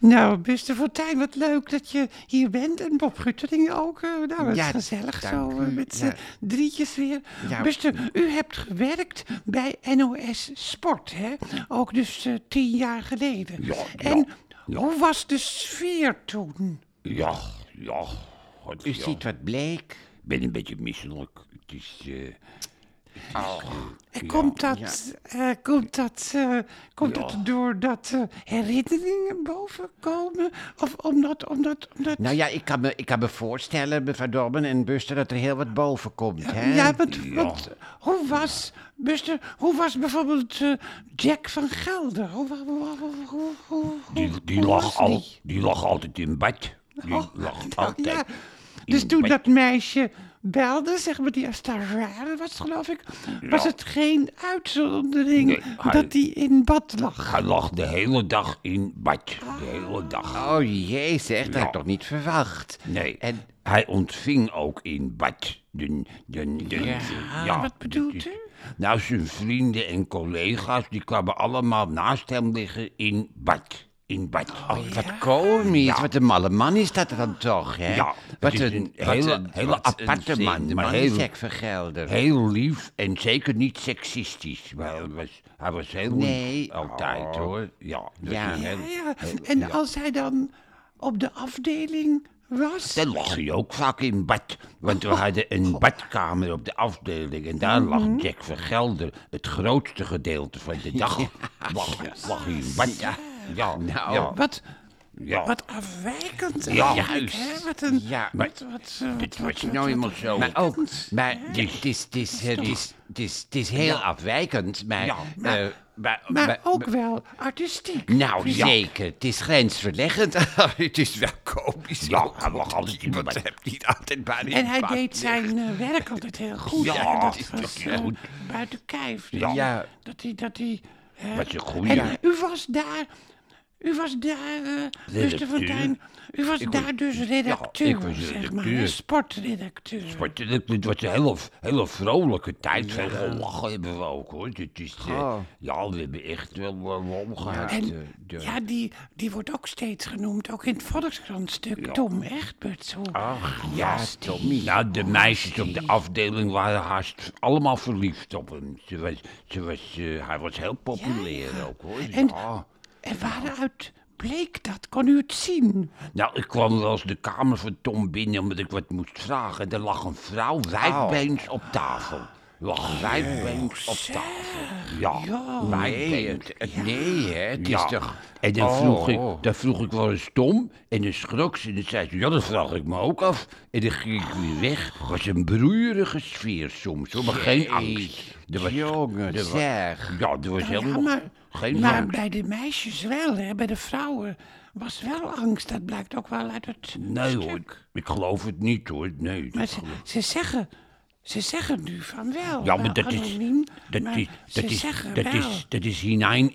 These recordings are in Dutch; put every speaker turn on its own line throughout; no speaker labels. Nou, beste Fortuyn, wat leuk dat je hier bent. En Bob Guttering ook. eh, nou, het
Ja,
is gezellig zo
dank
eh,
u.
met
Ja.
eh, drietjes weer.
Ja.
Beste, u hebt gewerkt bij NOS Sport, hè? Ook dus eh, tien jaar geleden.
Ja, ja,
en
ja.
hoe was de sfeer toen?
Ja, ja. God,
U
ja.
ziet wat bleek.
Ik ben een beetje misselijk. Het is... eh,
En komt dat, eh, komt dat, eh, komt
Ja.
dat doordat eh, herinneringen boven komen? Of omdat, omdat, omdat...
Nou ja, ik kan me, ik kan me voorstellen, mevrouw Dorben en Buster, dat er heel wat boven komt. Hè?
Ja, want, want hoe was, Buster, hoe was bijvoorbeeld eh, Jack van Gelder? Hoe, wa- hoe, hoe, hoe, hoe, hoe-
die, die,
hoe
lag
was
al,
Oh, die?
die lag altijd in bed. Die lag
Nou,
altijd.
ja.
in
Dus toen
bed.
dat meisje belde, zeg maar, die Astarade was, geloof ik, was
Ja.
het geen uitzondering
Nee, hij-
dat die in bad lag.
Hij lag de hele dag in bed. De hele dag.
Oh jee, zeg, dat
Ja.
had ik toch niet verwacht.
Nee.
En-
En hij ontving ook in bad. De, de, de, ja,
wat bedoelt u?
Nou, zijn vrienden en collega's, die kwamen allemaal naast hem liggen in bad. In bad.
Wat komisch,
Ja.
wat een malle man is dat dan toch, hè?
Ja, het
wat
is
een,
een
wat
hele-
een-
hele
wat een
aparte man,
vreemde
maar
man,
heel-
Jack van Gelder.
Heel lief en zeker niet seksistisch. Maar hij was, hij was heel lief
Nee.
altijd, hoor. Ja, dat
Ja.
is een
Ja,
heel-
ja. En als hij dan op de afdeling was,
Daar lag hij ook vaak in bad. Want we hadden een badkamer op de afdeling. En daar lag Jack Vergelder, het grootste gedeelte van de dag. Lag, lag hij in bad. Ja, ja,
Nou,
ja.
wat,
ja.
wat afwijkend
Ja,
eigenlijk, hè?
juist.
Wat een...
Ja,
maar
wat, wat, eh, wat-
Het
wat-
was
wat-
nou
wat-
eenmaal zo.
Maar ook, maar het is- het is- het is- het is- het is- het is heel afwijkend, maar...
Ja,
eh,
maar-
maar-
Maar
maar-
ook wel artistiek.
Nou,
Ja.
zeker. Het is grensverleggend. het is wel komisch.
Ja,
hoor.
hij lag altijd in
Iemand
bad.
hebt niet altijd maar in
En hij
bad.
deed zijn eh, werk altijd heel goed.
Ja,
hè?
is
dat was
toch
eh,
goed.
buiten kijf. Dus
Ja.
Ja.
Dat hij... Dat hij eh,
Wat een goeie.
en u was daar... U was daar, eh Buster
Redacteur.
Fontijn, u was daar dus redacteur,
ik was
zeg maar, hè?
redacteur.
sportredacteur.
Maar het- het- het was een hele, hele vrolijke tijd. Veel gelachen hebben we ook, hoor. Het is, eh,
Oh.
Ja, we hebben echt wel uh, omgehaald. eh,
En
de-
ja, die, die wordt ook steeds genoemd, ook in het Volkskrantstuk. Tom Egberts. hoe-
Ja, Tommy. Nou, de meisjes op de afdeling waren haast allemaal verliefd op hem. Ze was, ze was, eh, hij was heel populair ook hoor.
En,
Ja.
en waaruit bleek dat? Kon u het zien?
Nou, ik kwam wel eens de kamer van Tom binnen omdat ik wat moest vragen. En er lag een vrouw wijdbeens
Oh.
op tafel. Lag wijdbeens op tafel. Ja,
Nee,
wijdbeens.
het, het- nee, hè. Het
Ja.
is toch...
En dan
Oh.
vroeg, ik, dan vroeg ik wel eens Tom en dan schrok ze en dan zei ze, ja, dat vraag ik me ook af. En dan ging ik weer weg. Het was een broeierige sfeer soms, hoor, maar geen angst. Er was,
Jongen,
er was-
zeg.
ja, er was
Ja,
helemaal
maar,
geen
maar
angst.
bij de meisjes wel, hè? bij de vrouwen was wel angst. Dat blijkt ook wel uit het
Nee
stuk.
hoor, ik geloof het niet hoor, nee.
Maar ze, ze zeggen, ze zeggen nu van wel.
Ja,
wel
maar dat is,
anoniem,
dat
Eh, maar
is, dat
ze
is,
zeggen
dat
wel.
is, dat is hinein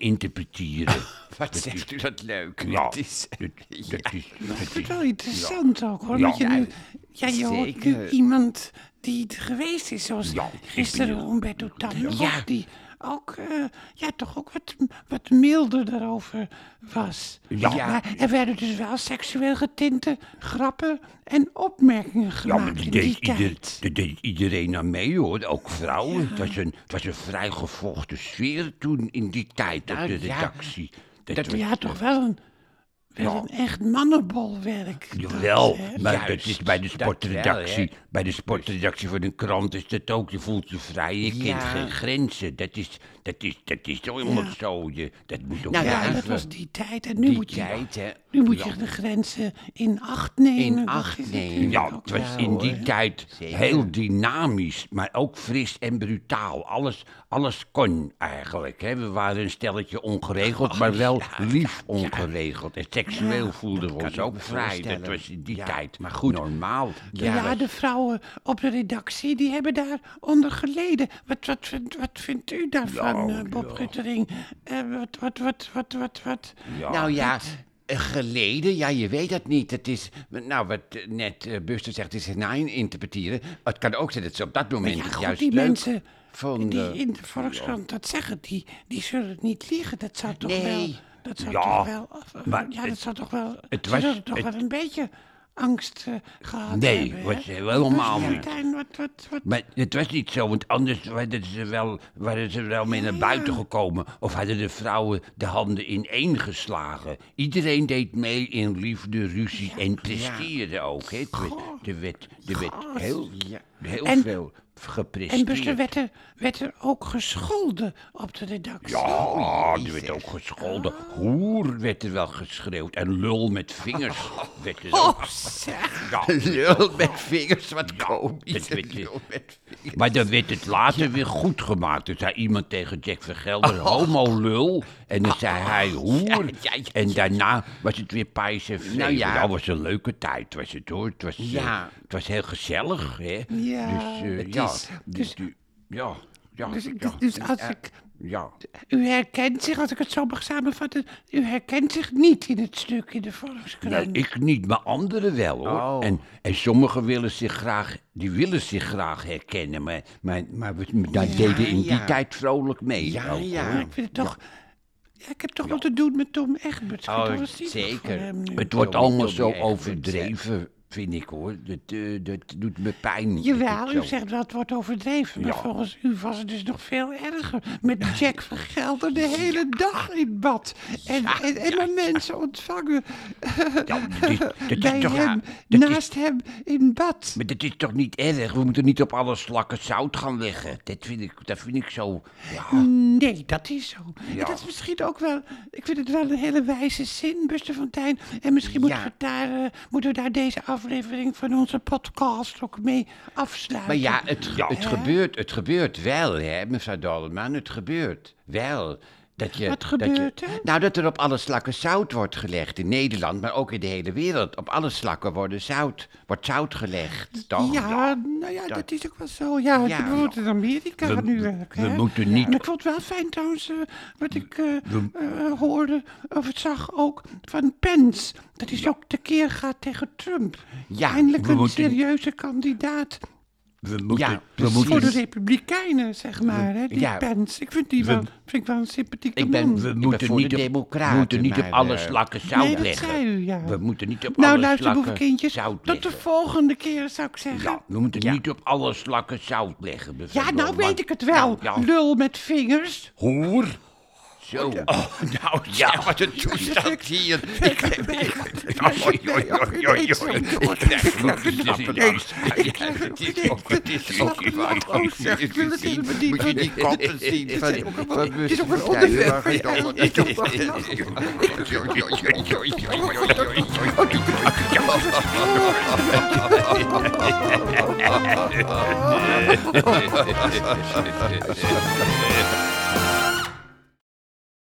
interpreteren.
Wat zegt u dat leuk.
Ja,
Het is...
dat, dat is, dat
Ik vind
is,
het wel interessant ook hoor.
Ja.
dat
nou,
je nu, ja,
Ja,
je hoort nu
zeker.
iemand die het geweest is, zoals
Ja, ik
gisteren
ben-
Humberto Tan,
Ja.
die ook, eh, ja, toch ook wat, wat milder daarover was.
Ja.
Maar er werden dus wel seksueel getinte grappen en opmerkingen
Ja, maar
gemaakt
dat
in
deed,
die
ieder,
tijd.
dat deed iedereen aan mee, hoor. Ook vrouwen. Het, was een, het was een vrij gevochten sfeer toen in die tijd op
Nou,
de
ja.
redactie. Dat, was
Ja, toch wel een, wel
Ja.
een echt mannenbolwerk.
Jawel,
dat, hè?
maar
Juist,
dat is bij de
dat
sportredactie.
wel,
bij de sportredactie van een krant is dat ook. Je voelt je vrij, je
Ja.
kent geen grenzen. Dat is, dat is, dat is toch helemaal zo. Je, dat moet ook
Nou
Ja,
blijven.
dat
even.
was die tijd. En nu
Die
moet je,
tijd, hè.
nu moet je de grenzen in acht nemen.
In
Dat
acht
is
nemen.
natuurlijk
Ja,
ook
het was
wel,
in die
eh,
tijd heel dynamisch, maar ook fris en brutaal. Alles, alles kon eigenlijk. Hè. We waren een stelletje ongeregeld,
Oh,
maar wel lief ongeregeld. En seksueel voelden we ons
kan ik
ook
me
vrij. Dat
voorstellen.
was in die
Ja,
tijd
maar goed.
normaal.
Ja,
Ja,
de vrouwen op de redactie, die hebben daaronder geleden. Wat, wat, vindt, wat vindt u daarvan, eh, Bob Guttering? Eh, wat, wat, wat, wat, wat, wat?
Ja.
Nou ja, eh, geleden, ja, je weet dat niet. Het is, nou, wat eh, net eh, Buster zegt, het is hinein interpreteren. Het kan ook zijn dat ze op dat moment
Ja,
het
goed,
juist
die
leuk
mensen
vonden.
die in de Volkskrant dat zeggen, die, die zullen niet liegen. Dat zou toch
Nee.
wel... Dat zou
Ja,
toch wel... of- of-
maar
ja, dat
het-
zou toch wel...
het
ze
was-
zullen toch
het-
wel een beetje angst eh, gehad
Nee,
hebben, hè?
was helemaal
Dus,
niet.
Martijn, wat, wat, wat...
Maar het was niet zo, want anders waren ze wel, waren ze wel mee naar buiten gekomen. Of hadden de vrouwen de handen ineengeslagen. Iedereen deed mee in liefde, ruzie en presteerde ook. Hè. Het werd- Er werd, er werd heel, heel
En-
veel
En Buster
gepresteerd.
werd er, werd er ook gescholden op de redactie.
Ja, er werd ook gescholden. Hoer werd er wel geschreeuwd. En lul met vingers werd er
Oh,
ook. Ja,
Lul met vingers, wat komisch.
dat weet je.
Lul met vingers.
Maar dan werd het later weer goed gemaakt. Dan zei iemand tegen Jack van Gelder, homo lul. En dan zei hij, hoer.
Oh. Ja, ja, ja,
En daarna was het weer pijs en vreemd.
Nou ja.
Dat was een leuke tijd, was het hoor. Het was, eh,
Ja.
het was heel gezellig, hè.
Ja.
Dus, eh,
Het
ja.
is-
Dus, ja, ja,
Dus, ik-
ja,
dus als ik...
ja.
U herkent zich, als ik het zo mag samenvatten... U herkent zich niet in het stuk in de Volkskrant.
Nee, Nou, ik niet, maar anderen wel hoor.
Oh.
En, en sommigen willen zich graag, die willen zich graag herkennen, maar, maar, maar we daar deden in die
ja.
tijd vrolijk mee.
Ja,
ook,
ja.
hoor.
Ik vind het toch... Ja, ik heb toch wat te doen met Tom Egbert. Ik vind
Oh,
het wel zielig
zeker.
voor hem nu.
Het wordt
Tommy,
allemaal
Tommy
zo
Egbert,
overdreven, vind ik hoor. Dat, eh, dat doet me pijn.
Jawel, u
Zo.
zegt dat het wordt overdreven. Maar
Ja.
volgens u was het dus nog veel erger. Met Jack van Gelder de hele dag in bad. En, en, en maar mensen ontvangen
Ja, dat is, dat is
bij
toch,
hem,
dat is-
naast hem in bad.
maar dat is toch niet erg? We moeten niet op alle slakken zout gaan leggen. Dat vind ik, dat vind ik zo... Ja,
Nee, dat is zo.
Ja.
En dat is misschien ook wel... Ik vind het wel een hele wijze zin, Buster van Tijn. En misschien moeten,
Ja.
we daar, eh, moeten we daar deze aflevering van onze podcast ook mee afsluiten.
Maar Nou ja, het, ge-
Ja.
het gebeurt, het gebeurt wel, hè, mevrouw Dolleman. Het gebeurt wel. Dat je,
Wat
dat je-
gebeurt er?
nou, dat er op alle slakken zout wordt gelegd. In Nederland, maar ook in de hele wereld. Op alle slakken worden zout, wordt zout gelegd, toch?
Ja, nou ja, dat, is ook wel zo. Ja,
oh, Ja.
bijvoorbeeld in Amerika
We-
nu
we-
ook,
we
hè.
moeten niet-
Maar ik vond het wel fijn trouwens, eh, wat ik eh, eh, hoorde, of het zag ook, van Pence. Dat hij ook tekeer gaat tegen Trump.
Ja,
Eindelijk
we
een
moeten-
serieuze kandidaat
we moeten...
Ja,
we
voor de
moeten
Republikeinen, zeg maar, hè, die
ja.
Pence. Ik vind die wel, vind ik wel een sympathieke
Ik ben-
man.
we
Ik
moeten
voor
niet
de
op-
democraten,
moeten niet op
maar,
alle
eh,
slakken zout
Nee, dat
leggen.
zei u, ja.
We moeten niet op
nou,
alle
luister,
slakken
boevenkindjes, tot
zout
de
leggen.
volgende keer, zou ik zeggen.
Ja, Nou, we moeten niet op alle slakken zout leggen. mevrouw
Ja, nou
Dolleman.
weet ik het wel.
Ja, ja.
Lul met vingers.
Hoer. Zo. Oh, nou, ja. wat een
Toestand hier. Ik, Oh, koppen zien van, van
Het is ook een onderwerp. Ja, het is ook wel lastig.